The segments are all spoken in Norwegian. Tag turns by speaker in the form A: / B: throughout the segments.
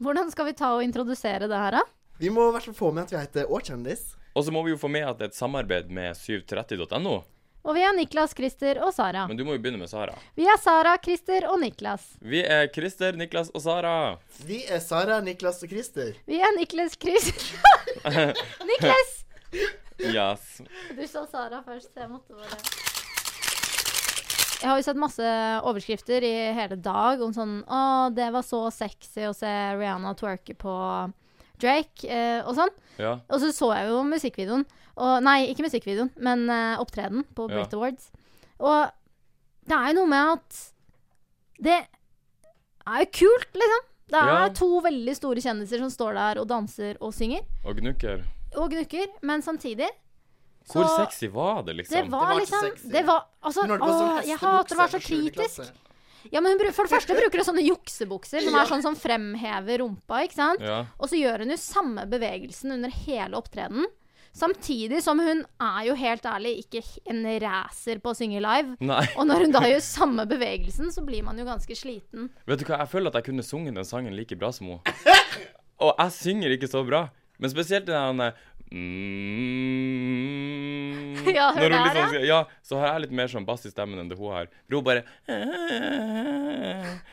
A: Hvordan skal vi ta og introdusere det her, da?
B: Vi må i hvert fall få med at vi heter Åkjendis.
C: Og så må vi jo få med at det er et samarbeid med 730.no.
A: Og vi er Niklas, Christer og Sara.
C: Men du må jo begynne med Sara.
A: Vi er Sara, Christer og Niklas.
C: Vi er Christer, Niklas og Sara.
B: Vi er Sara, Niklas og Christer.
A: Vi er Niklas, Chris... Niklas!
C: Yes.
A: Du sa Sara først, så jeg måtte bare Jeg har jo sett masse overskrifter i hele dag om sånn Å, det var så sexy å se Rihanna twerke på Drake, eh, og sånn.
C: Ja.
A: Og så så jeg jo musikkvideoen. Og, nei, ikke musikkvideoen, men eh, opptredenen på
C: Ja.
A: Brit Awards. Og det er jo noe med at Det er jo kult, liksom. Det er
C: Ja.
A: to veldig store kjendiser som står der og danser og synger.
C: Og gnukker.
A: Og gnukker. Men samtidig
C: Hvor
A: så-
C: sexy var det,
A: det
C: liksom?
A: var,
B: var ikke sexy.
A: liksom Det var Altså,
B: Hun har det på sånn
A: åh, jeg hater å være så
B: hestebukse på sjuende
A: kritisk.
B: klasse.
A: Ja, men hun, bru- for det første bruker hun sånne juksebukser som
B: Ja.
A: er sånn som fremhever rumpa, ikke sant?
C: Ja.
A: Og så gjør hun jo samme bevegelsen under hele opptredenen. Samtidig som hun er jo helt ærlig ikke en racer på å synge live.
C: Nei.
A: Og når hun da gjør samme bevegelsen, så blir man jo ganske sliten.
C: Vet du hva, jeg føler at jeg kunne sunget den sangen like bra som henne. Og jeg synger ikke så bra. Men spesielt den der mm,
A: Ja, hør
C: når hun
A: der,
C: liksom
A: ja.
C: sier- Ja, så har jeg litt mer sånn bass i stemmen enn det hun har. For hun bare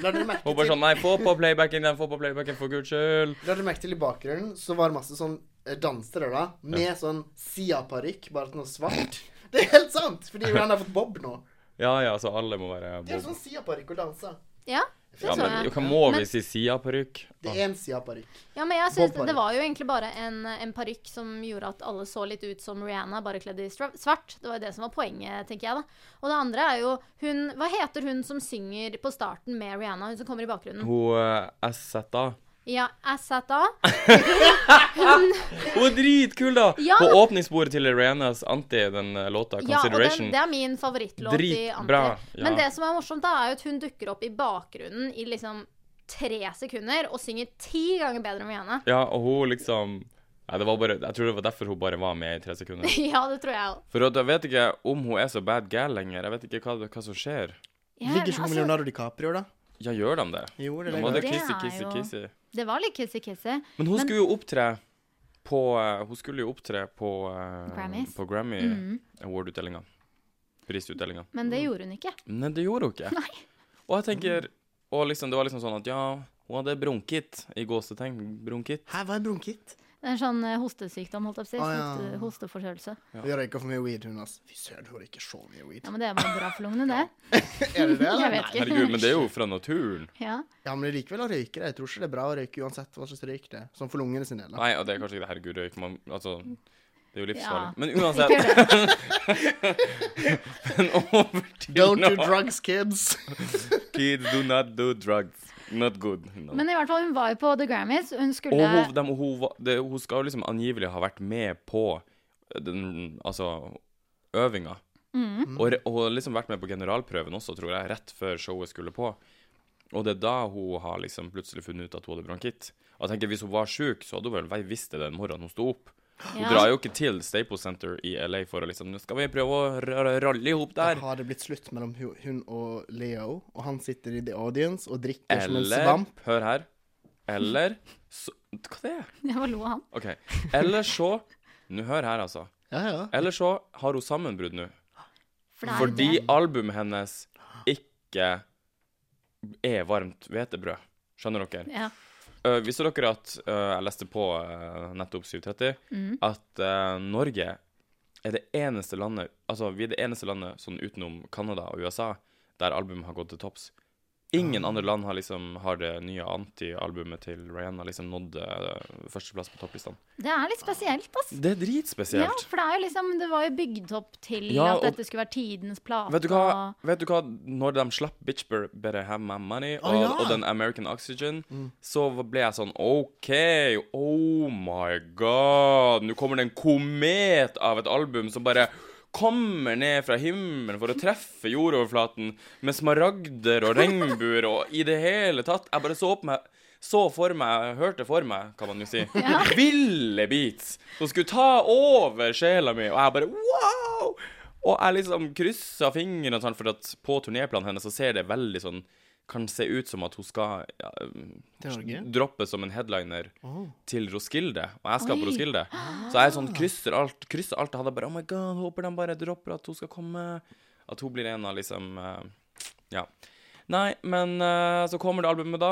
B: La dere merke
C: Hun bare
B: til-
C: sånn Nei, få på playbacken igjen, få på playbacken, for guds skyld.
B: La dere merke til i bakgrunnen, så var det masse sånn eh, dansere da, med sånn Sia-parykk, bare sånn svart. Det er helt sant, fordi hun har fått bob nå.
C: Ja ja, så alle må være
B: Det er
C: bob.
B: sånn Sia-parykk og danse.
A: Ja, det
C: Ja,
A: så
C: men
A: jeg.
C: hva må vi
A: Men-
C: si? Sia-parykk?
B: Det er en Sia-parykk.
A: Ja, men jeg synes
B: Bob-parykk.
A: Det var jo egentlig bare en, en parykk som gjorde at alle så litt ut som Rihanna, bare kledd i stra- svart. Det var jo det som var poenget, tenker jeg, da. Og det andre er jo hun Hva heter hun som synger på starten med Rihanna? Hun som kommer i bakgrunnen?
C: Hun eh, SZA.
A: Ja, Assata.
C: Hun er dritkul, da!
A: Ja.
C: På åpningsbordet til Irenas Anti, den eh, låta
A: Ja, og den,
C: Consideration.
A: det er min favorittlåt i Anti.
C: Dritbra, ja.
A: Men det som er morsomt, da, er jo at hun dukker opp i bakgrunnen i liksom tre sekunder og synger ti ganger bedre enn Rihanna.
C: Ja, og hun liksom Nei, det var bare, Jeg tror det var derfor hun bare var med i tre sekunder.
A: ja, det tror jeg òg.
C: For at jeg vet ikke om hun er så bad gal lenger. Jeg vet ikke hva, hva som skjer.
B: Ligger
A: altså,
B: ikke hun med Leonardo DiCaprio, da?
C: Ja, gjør de det?
B: Jo, det
C: Nå var det
A: Det
C: kissy,
A: er
C: kissy,
A: jo-
C: kissy.
A: det var litt kissy-kissy.
C: Men hun
A: Men-
C: skulle jo opptre på eh, Hun skulle jo opptre på eh,
A: Grammys.
C: På Grammy
A: Mhm.
C: Award-utdelinga. Prisutdelinga.
A: Men
B: Mm.
A: det gjorde hun ikke.
C: Nei, det gjorde hun ikke.
A: Nei.
C: Og jeg tenker Og liksom, det var liksom sånn at ja, hun hadde brunket i gåsetegn. Brunket.
B: Her var en brunkitt.
A: Det er en sånn eh, hostesykdom, holdt jeg på å si.
B: Å, Ah, ja.
A: Hoste- Hosteforkjølelse.
B: Hun røyka for mye weed, hun, altså. Fy søren, hun røyker så mye weed.
A: Ja, men det var bra for lungene, det.
B: Er det det?
A: Jeg
B: Eller?
A: vet ikke.
C: Herregud, men det er jo fra naturen.
A: Ja.
B: Ja, men likevel å røyke det. Jeg tror ikke det er bra å røyke uansett hva slags røyk det er. Sånn for lungene sin del, da.
C: Nei, og det er kanskje ikke det. Herregud, røyk. Man, altså, det er jo livsfarlig.
A: Ja.
C: Men uansett. Men over til
B: Don't do
C: noe.
B: drugs, kids.
C: Kids do not do drugs. Not good. No.
A: Men i hvert fall, hun var jo på The Grammys. Hun
C: og
A: skulle
C: hun, dem- hun, var- det, hun skal jo liksom angivelig ha vært med på den, altså, øvinga. Og, re- og liksom vært med på generalprøven også, tror jeg, rett før showet skulle på. Og det er da hun har liksom plutselig funnet ut at hun hadde bronkitt. Og jeg tenker, Hvis hun var sjuk, så hadde hun vel vei- visst det den morgenen hun sto opp. Hun
A: Ja.
C: drar jo ikke til Staples Center i LA for å liksom Nå skal vi prøve å r- r- ralle i hop
B: Da
C: der.
B: har det blitt slutt mellom hu- hun og Leo, og han sitter i the audience og drikker som en
C: Eller
B: svamp.
C: Hør her. Eller så Hva det er
A: Jeg bare lo av han.
C: OK. Eller så Nå hør her, altså.
B: Ja, ja.
C: Eller så har hun sammenbrudd nå.
A: For det er jo
C: Fordi
A: det.
C: albumet hennes ikke er varmt hvetebrød. Skjønner dere?
A: Ja.
C: Uh, visste dere at eh, Jeg leste på eh, nettopp 730
A: Mm.
C: at eh, Norge er det eneste landet Altså, vi er det eneste landet sånn utenom Canada og USA der albumet har gått til topps. Ingen
A: Ah.
C: andre land har liksom har det nye anti-albumet til Rihanna liksom nådd eh, førsteplass på topplistene.
A: Det er litt spesielt, ass.
C: Det er
A: Ja,
C: dritspesielt.
A: for det er jo liksom Det var jo bygd opp til
C: Ja,
A: at
C: og-
A: dette skulle være tidenes plate.
C: Vet du, hva,
A: og-
C: vet du hva, når de slapp Bitch Bur- Better Have My Money og,
B: ja.
C: og den American Oxygen, så ble jeg sånn OK, oh my god, nå kommer det en komet av et album som bare kommer ned fra himmelen for å treffe jordoverflaten med smaragder og regnbuer og i det hele tatt. Jeg bare så på meg så for meg, hørte for meg, kan man jo si, ville beats som skulle ta over sjela mi, og jeg bare wow! Og jeg liksom kryssa fingrene og sånn, for at på turnéplanen hennes så ser det veldig sånn kan se ut som at hun skal ja,
B: Til Norge?
C: droppe som en headliner
B: Åh.
C: til Roskilde, og jeg skal
A: Oi.
C: på Roskilde. Så jeg sånn krysser alt. Krysser alt. Jeg hadde bare Oh my god, håper de bare dropper at hun skal komme. At hun blir en av liksom eh, Ja. Nei, men eh, så kommer det albumet da,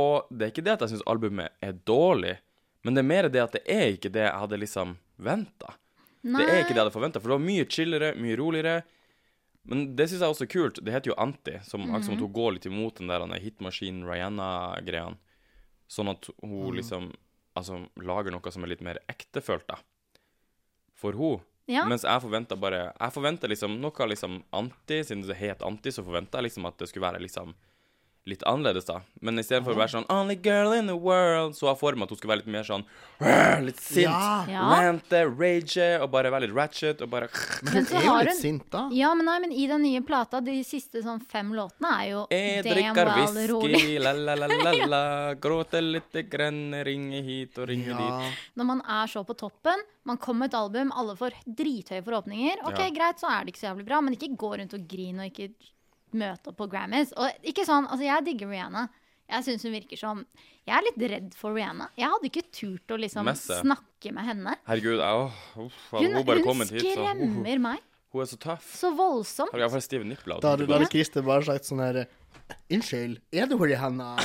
C: og det er ikke det at jeg syns albumet er dårlig, men det er mer det at det er ikke det jeg hadde liksom venta. Det er ikke det jeg hadde forventa, for det var mye chillere, mye roligere. Men det syns jeg også er kult. Det heter jo Anti, som akkurat som at hun går litt imot den der hitmaskinen Rihanna-greia. Sånn at hun liksom altså, lager noe som er litt mer ektefølt, da. For hun.
A: Ja.
C: Mens jeg forventa bare Jeg forventa liksom noe liksom anti, siden det het anti, så forventa jeg liksom at det skulle være liksom litt annerledes, da. Men istedenfor å være sånn 'Only girl in the world', så jeg for meg at hun skulle være litt mer sånn «Rrr», Litt sint.
B: Ja.
A: Ja.
C: Rante, rage, og bare være litt ratchet, og bare
B: Men
A: Men
B: hun
A: så
B: er jo
A: har
B: litt
A: hun-
B: sint, da.
A: Ja, men nei, men i den nye plata, de siste sånn fem låtene, er jo
C: Jeg
A: damn
C: Eh, drikker
A: well rolig.
C: whisky, la-la-la-la-la, gråter lite grann, ringer hit og ringer dit.
B: Ja.
A: Når man er så på toppen, man kommer med et album, alle får drithøye forhåpninger. Ok,
C: Ja.
A: greit, så er det ikke så jævlig bra, men ikke gå rundt og grine og ikke møte opp på Grammys. Og ikke sånn, altså jeg digger Rihanna. Jeg synes hun virker som Jeg er litt redd for Rihanna. Jeg hadde ikke turt å liksom
C: Messe.
A: snakke med henne.
C: Herregud, jeg, åh, uff, hadde
A: Hun,
C: hun bare
A: hun
C: kommet hit, så hun,
A: skremmer meg
C: hun er så tøff.
A: så voldsomt.
C: Har iallfall stive nipler.
B: Da hadde, da hadde Christer bare sagt sånn her Unnskyld, er du Rihanna?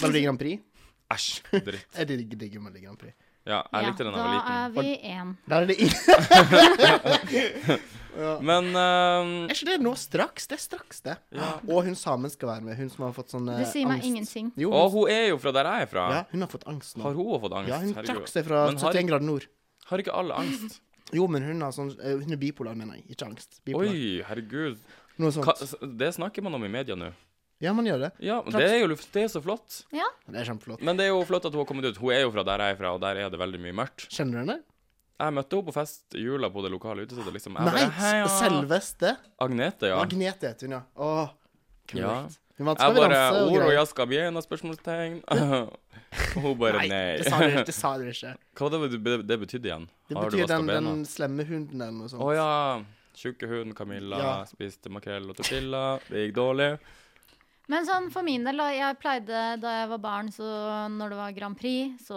B: Da blir det Grand Prix.
C: Æsj, dritt.
B: Jeg digger, digger Melodi Grand Prix.
C: Ja, jeg likte den da jeg var
A: da er
C: liten.
A: vi én.
B: Der er det i-
C: Men
B: Er
C: eh,
B: ikke det nå straks? Det er straks, det. Og hun samen skal være med. Hun som har fått sånn eh,
A: Det sier meg
B: angst.
A: ingenting.
B: Jo,
C: Og
B: hun,
C: hun er jo fra der jeg er fra.
B: ja, hun har fått angst nå.
C: Har hun også fått angst?
B: Ja, hun
C: Herregud.
B: trakk seg fra
C: Men har,
B: 71 grader nord.
C: har ikke alle angst?
B: Jo, men hun, har sånn, eh, hun er bipolar, mener jeg. Ikke angst. Bipolar.
C: Oi, herregud.
B: Noe sånt.
C: Ka, det snakker man om i media nå.
B: Ja, man gjør det.
C: Ja, men det er jo det er så flott.
A: Ja.
B: Det er kjempeflott.
C: Men det er jo flott at hun har kommet ut. Hun er jo fra der jeg er fra, og der er det veldig mye mørkt.
B: Kjenner du henne?
C: Jeg møtte henne på fest i jula på det lokale utestedet, liksom. Jeg
B: Nei,
C: bare, «Hei, ja».
B: selveste.
C: Agnete, ja.
B: Agnete heter hun, ja. Åh, kult.
C: Ja.
B: Hun vant
C: Jeg
B: Skal vi
C: bare
B: danse og
C: Ord og
B: greier.
C: jaska bjena? Spørsmålstegn. Og hun bare
B: Nei,
C: nei.
B: det sa dere, det sa dere ikke.
C: Hva var det det det betydde igjen?
B: Det
C: Har du
B: betyr
C: vaska
B: den,
C: bena?
B: den slemme hunden eller noe sånt.
C: Å ja. Tjukke hund Camilla
B: Ja.
C: spiste makrell og tortilla. Det gikk dårlig.
A: Men sånn for min del, da, jeg pleide da jeg var barn, så når det var Grand Prix, så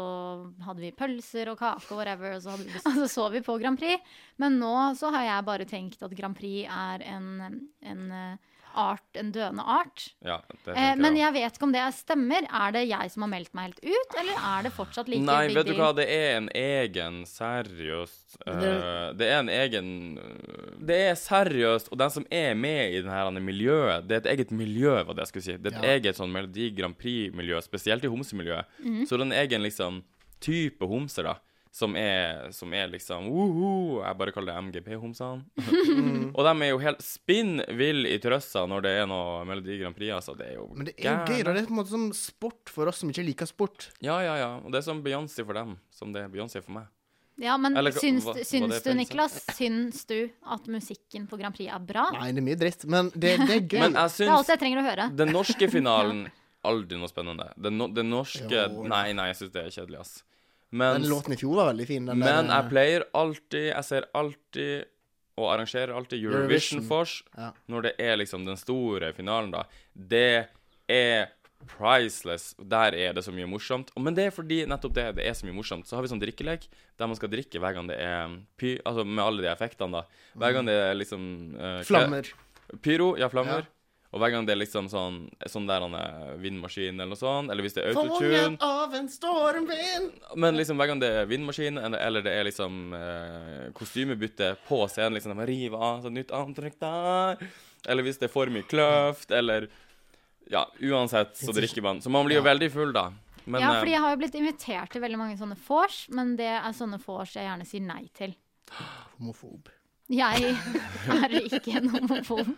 A: hadde vi pølser og kake og whatever, og så, hadde vi, altså, så vi på Grand Prix. Men nå så har jeg bare tenkt at Grand Prix er en, en eh, art, en døende art.
C: Ja, det
A: Eh, men
C: jeg
A: jeg vet ikke om det stemmer. Er det jeg som har meldt meg helt ut, eller er det fortsatt like
C: Nei,
A: big
C: vet du
A: deal?
C: hva, det er en egen Seriøst eh, Det er en egen Det er seriøst, og den som er med i det her denne miljøet Det er et eget miljø, var det jeg skulle si. Det er et
B: Ja. Mhm.
C: eget sånn Melodi Grand Prix-miljø, spesielt i homsemiljøet. Så det er en egen liksom type homser, da. Som er, som er liksom «Woho», Jeg bare kaller det MGP-homsene.
B: Mhm.
C: og de er jo helt spinn vill i trøssa når det er noe Melodi Grand Prix, altså. Det er jo
B: Men det er jo gøy,
C: gærent.
B: da. Det er på en måte som sport for oss som ikke liker sport.
C: Ja, ja, ja. Og det er som Beyoncé for dem, som det er Beyoncé for meg.
A: Ja, men
C: Eller hva-
A: syns,
C: hva- hva
A: syns
C: det
A: du,
C: feil, sant?
A: Niklas, syns du at musikken på Grand Prix er bra?
B: Nei, det er mye dritt, men det, det er gøy.
C: Men jeg
A: Det er alt
C: syns
A: jeg trenger å høre.
C: den norske finalen Aldri noe spennende. Den, no, den norske
B: Jo.
C: Nei, nei, jeg syns det er kjedelig, ass. Men,
B: Den låten eh, i fjor var veldig fin. Den
C: men
B: der,
C: jeg pleier alltid Jeg ser alltid og arrangerer alltid
B: Eurovision.
C: Eurovision Fors
B: Ja.
C: når det er liksom den store finalen, da. Det er priceless. Der er det så mye morsomt. Men det er fordi nettopp det, det er så mye morsomt. Så har vi sånn drikkelek der man skal drikke hver gang det er py... Altså med alle de effektene, da. Hver gang det er liksom eh,
B: Flammer.
C: Pyro, ja, flammer. Og hver gang det er liksom sånn Sånn der han er vindmaskin eller noe sånt, eller hvis det er autotune
B: Fanget av en stormvind.
C: Men liksom hver gang det er vindmaskin, eller, eller det er liksom eh, kostymebytte på scenen, liksom de river av sånn nytt antrekk der Eller hvis det er for mye kløft, eller Ja, uansett så drikker man. Så man blir jo veldig full, da. Men
A: ja,
C: eh,
A: fordi jeg har jo blitt invitert til veldig mange sånne vors, men det er sånne vors jeg gjerne sier nei til.
B: Homofob.
A: Jeg er ikke en homofob.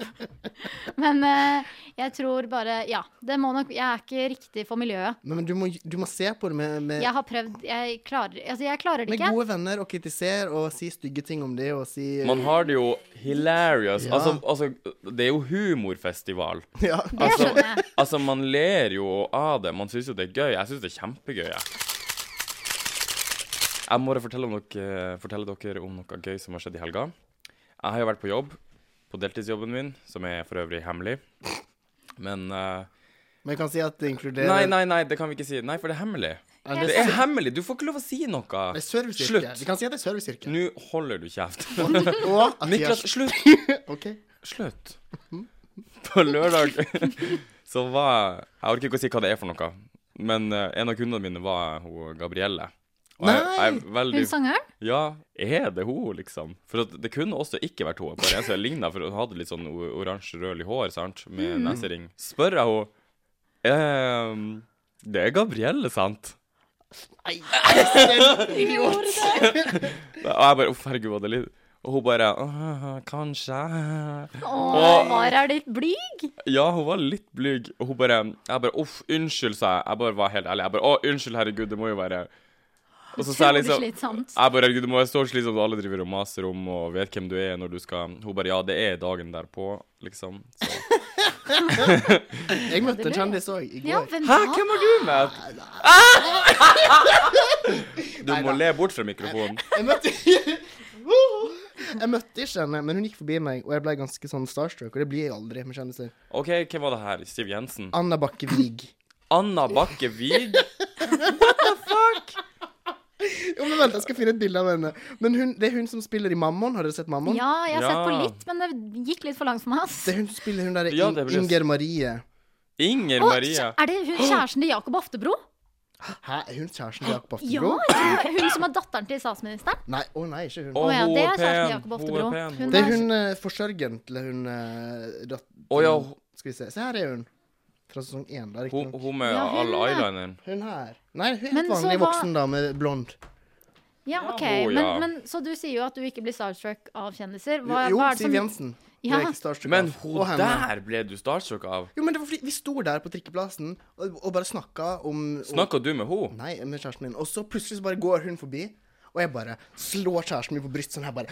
A: Men eh, jeg tror bare Ja, det må nok Jeg er ikke riktig for miljøet.
B: Men, men du, må, du må se på det med, med,
A: Jeg har prøvd. Jeg klarer, altså jeg klarer det
B: med
A: ikke.
B: gode venner og kritisere og si stygge ting om det og si
C: man har det jo hilarious.
B: Ja.
C: Altså, altså, det er jo humorfestival.
B: ja.
A: Det
C: Altså-
A: skjønner jeg.
C: Altså, man ler jo av det. Man syns jo det er gøy. Jeg syns det er kjempegøy. Jeg, jeg må bare fortelle, om dere, fortelle dere om noe gøy som har skjedd i helga. Jeg har jo vært på jobb på deltidsjobben min, som er for øvrig hemmelig. Men eh,
B: Men jeg kan si at det inkluderer
C: Nei, nei, nei, det kan vi ikke si. Nei, for det er hemmelig.
B: Ja,
C: Det er hemmelig! Du får ikke lov å si noe.
B: Det er serviceyrke.
C: Slutt.
B: Vi kan si at det er serviceyrke.
C: Nå holder du kjeft.
B: Og at de
C: Niklas,
B: har-
C: slutt!
B: OK.
C: Slutt. På lørdag så var jeg Jeg orker ikke å si hva det er for noe, men eh, en av kundene mine var hun Gabrielle. Og jeg, jeg er veldig
A: Hun sangeren?
C: Ja, er det hun, liksom? For at det kunne også ikke vært hun. Bare en som ligna, for hun hadde litt sånn o- oransje-rødlig hår, sant, med nesering. Spør jeg henne ehm, Det er Gabrielle, sant?
B: Nei.
C: Og jeg bare Uff, herregud, var det litt Og hun bare «Åh, Kanskje.
A: Å, var er litt blyg?
C: Ja, hun var litt blyg. Og hun bare Jeg bare Uff, unnskyld, sa jeg. Jeg bare var helt ærlig. Jeg bare Å, unnskyld, herregud, det må jo være Og så sa jeg
A: Utrolig
C: liksom
A: slitsomt.
C: Jeg bare Herregud, det må være så slitsomt, og alle driver og maser om og vet hvem du er når du skal Hun bare Ja, det er dagen derpå, liksom. Så.
B: Jeg møtte en kjendis òg i
A: Ja,
B: går.
A: hvem
C: Hæ,
A: da?
C: hvem har du møtt? Du må le bort fra mikrofonen.
B: Jeg møtte Jeg møtte ikke henne, men hun gikk forbi meg, og jeg ble ganske sånn starstruck. Og det blir jeg aldri med kjendiser.
C: OK, hvem var det her? Siv Jensen?
B: Anna Bakke Wiig.
C: Anna Bakke Wiig?
B: Jo, men vent, jeg skal finne et bilde av henne. Men hun, det er hun som spiller i Mammon. Har dere sett Mammon?
A: Ja, jeg har sett på
C: Ja.
A: litt, men det gikk litt for langt for meg. ass.
B: Det er hun som spiller hun der
C: Ja,
B: In-
C: det blir-
B: Inger Marie.
C: Inger
A: Å,
C: Marie?
A: Er det hun kjæresten til Jakob Oftebro?
B: Hæ, er hun kjæresten til Jakob
A: Ja,
B: Oftebro?
A: hun som er datteren til statsministeren.
B: Nei, å nei, ikke hun.
C: Å,
A: Å ja,
C: hun
A: det
C: er
A: er kjæresten til
C: pen.
A: Jakob
C: Hun
A: Oftebro.
C: er pen.
A: Hun
B: Det
A: er-
B: er hun eh, forsørgeren til hun eh, dat-
C: Å ja,
B: Skal vi se. Se, her er hun. Fra sesong én. da,
C: hun,
B: riktignok.
C: hun med
A: Ja, hun
C: all
A: er-
C: eyelineren.
B: Hun her. Nei, hun er
A: Men
B: helt
A: så
B: vanlig
A: hva-
B: voksen dame, blond.
A: Ja, ok.
C: Ja, hun,
A: men,
C: ja.
A: men, så du sier jo at du ikke blir starstruck av kjendiser. Hva,
B: Jo,
A: hva er det som
B: Siv Jensen.
A: Ja.
B: Det er ikke starstruck
C: Men
B: av.
C: hun
B: Og henne.
C: der ble du starstruck av.
B: Jo, men det var fordi vi sto der på trikkeplassen og, og bare snakka om om-
C: Snakka du med henne?
B: Nei, med kjæresten min. Og så plutselig så bare går hun forbi, og jeg bare slår kjæresten min på brystet sånn her bare.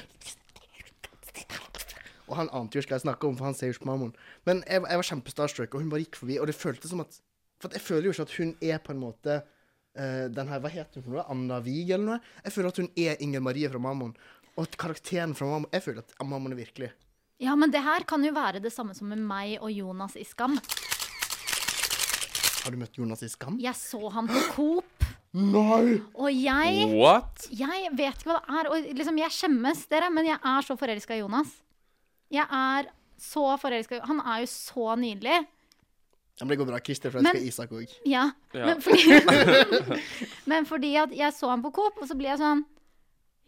B: Og han ante jo ikke hva jeg snakka om, for han ser jo ikke på mammaen. Men jeg, jeg var kjempestarstruck, og hun bare gikk forbi, og det føltes som at For at jeg føler jo ikke at hun er på en måte eh, den her, Hva heter hun for noe? Anna Wiig, eller noe? Jeg føler at hun er Inger Marie fra Mammon. Og at karakteren fra Mammon Jeg føler at Mammon er virkelig.
A: Ja, men det her kan jo være det samme som med meg og Jonas i Skam.
B: Har du møtt Jonas i Skam?
A: Jeg så han på Coop,
B: Nei!
A: og jeg
C: What?
A: Jeg vet ikke hva det er. Og liksom, jeg skjemmes, dere, men jeg er så forelska i Jonas. Jeg er så forelska i Han er jo så nydelig.
B: Ja, Men det går bra. Christer forelsker
A: Men-
B: Isak òg.
A: Ja.
C: Ja.
A: Men, fordi, men fordi at jeg så han på Coop, og så blir jeg sånn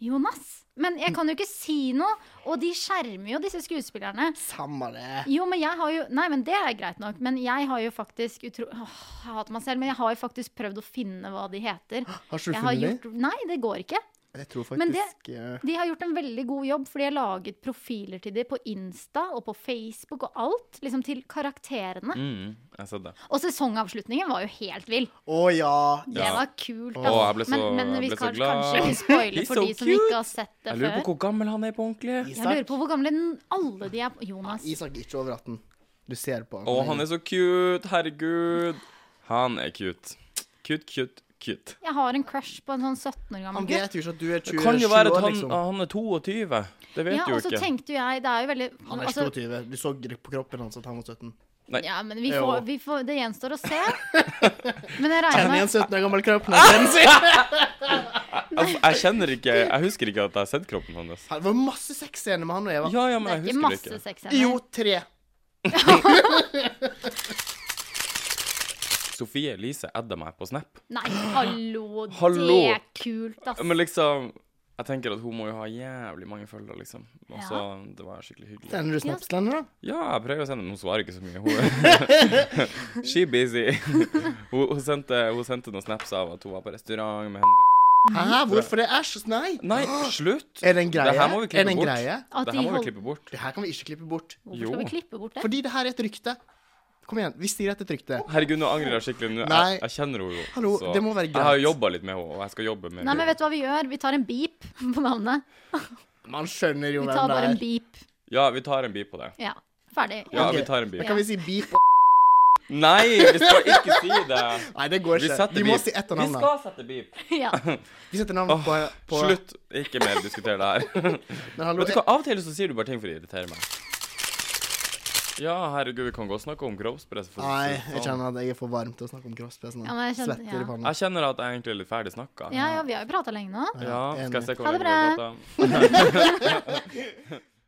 A: Jonas? Men jeg kan jo ikke si noe. Og de skjermer jo disse skuespillerne.
B: Samme det.
A: Jo, men jeg har jo Nei, men det er greit nok. Men jeg har jo faktisk utro... Åh, jeg hater meg selv, men jeg har jo faktisk prøvd å finne hva de heter.
B: Har ikke du
A: Jeg har
B: funnet
A: gjort, nei, det går ikke.
B: Jeg tror
A: Men det-
B: faktisk eh,
A: De har gjort en veldig god jobb, fordi jeg har laget profiler til dem på Insta og på Facebook og alt. Liksom til karakterene.
C: Mm, jeg så det.
A: Og sesongavslutningen var jo helt vill.
B: Å ja.
A: Det
C: Ja.
A: var kult.
C: Åh,
A: ass.
C: jeg ble så-
A: men, men
C: jeg
A: vi
C: ble så
A: skal
C: glad.
A: kanskje ikke spoile
C: He's
A: for
C: so
A: de som ikke
C: cute.
A: har sett det
C: Jeg lurer på
A: før.
C: hvor gammel han er på ordentlig.
A: Jeg lurer på hvor gamle n- alle de er. Jonas.
B: Isak er ikke over 18. Du ser på han.
C: Å, han er så cute. Herregud. Han er cute. Cute, cute, cute.
A: Jeg har en crush på en sånn 17 år
B: Han
A: gammel gutt.
B: vet jo ikke at du er 27
C: Det kan jo være at
B: år,
C: han,
B: liksom.
C: han er 22. Det vet
A: Ja,
C: du jo
A: og så
C: ikke.
A: tenkte jo jeg Det er jo veldig
B: Han er
A: altså,
B: 22. Du så det på kroppen hans at han var 17.
C: Nei.
A: Ja, men vi
B: Jo.
A: får, vi får Det gjenstår å se. Men jeg regner
B: Kjenner igjen
A: med
B: 17 år gammel
C: Ah!
B: kropp. når den ser-
C: Jeg, Altså, jeg kjenner ikke Jeg husker ikke at jeg har sett kroppen hans.
B: Det var masse sexscener med han og Eva.
C: Ja,
A: det
C: ja, men
A: er
C: jeg
A: ikke
C: husker
A: masse
C: det ikke.
B: Jo,
A: sexscener.
B: tre.
C: Sofie Elise adda meg på Snap.
A: Nei, hallo, det
C: Hallo.
A: er kult, ass.
C: Men liksom Jeg tenker at hun må jo ha jævlig mange følgere, liksom. Og så Det var skikkelig hyggelig.
B: Sender du snaps til henne, da?
C: Ja, jeg prøver å sende, men hun svarer ikke så mye. Hun She busy. hun, hun, sendte, hun sendte noen snaps av at hun var på restaurant med henne.
B: Hæ, hvorfor det? Æsj, nei.
C: Nei, slutt!
B: Er det en greie?
C: Det her må
B: Er
C: vi
B: det
C: klippe
B: en
C: bort.
B: greie?
A: At
C: Det
A: de
C: her må vi
A: hold-
C: klippe bort.
B: Det her kan vi ikke klippe bort.
A: Hvorfor skal
C: Jo.
A: vi klippe bort det?
B: Fordi det her er et rykte. Kom igjen, vi sier at det er et rykte.
C: Herregud, nå angrer jeg skikkelig. Nå,
B: Nei.
C: jeg, jeg kjenner henne jo.
B: Hallo,
C: så-
B: det må være
C: Jeg har
B: greit.
C: jobba litt med henne, og jeg skal jobbe med
A: Nei, men vet du hva vi gjør? Vi tar en beep på navnet.
B: Man skjønner jo
A: Vi
B: hvem
A: tar
B: det
A: bare en
B: er.
A: beep.
C: Ja, vi tar en bi på det.
A: Ja. Ferdig.
C: Ja,
B: Ok.
C: vi tar en bi.
B: Da kan vi si beep.
C: Nei, vi skal ikke si det!
B: Nei, det går
C: Vi
B: ikke.
C: setter
B: Vi må
C: beep.
B: si ett av
C: Vi
B: navnene.
C: skal sette beep.
A: Ja.
B: Vi setter navn
C: Åh,
B: på, på
C: Slutt. Ikke mer diskutere det her.
B: Men hallo,
C: Vet du hva, Av og til så sier du bare ting for å irritere meg. Ja, herregud, vi kan godt snakke om kroppspress. for å si
B: Nei,
C: det
B: jeg
C: sånn.
B: kjenner at jeg er for varm til å snakke om crosspress nå.
A: Ja, men jeg kjenner-
B: Svetter
A: ja.
B: i panna.
C: Jeg kjenner at jeg egentlig er litt ferdig snakka.
A: Ja, ja, vi har jo prata lenge nå.
C: Ja, skal jeg se hvor
A: Ha det
C: lenge vi har pratet?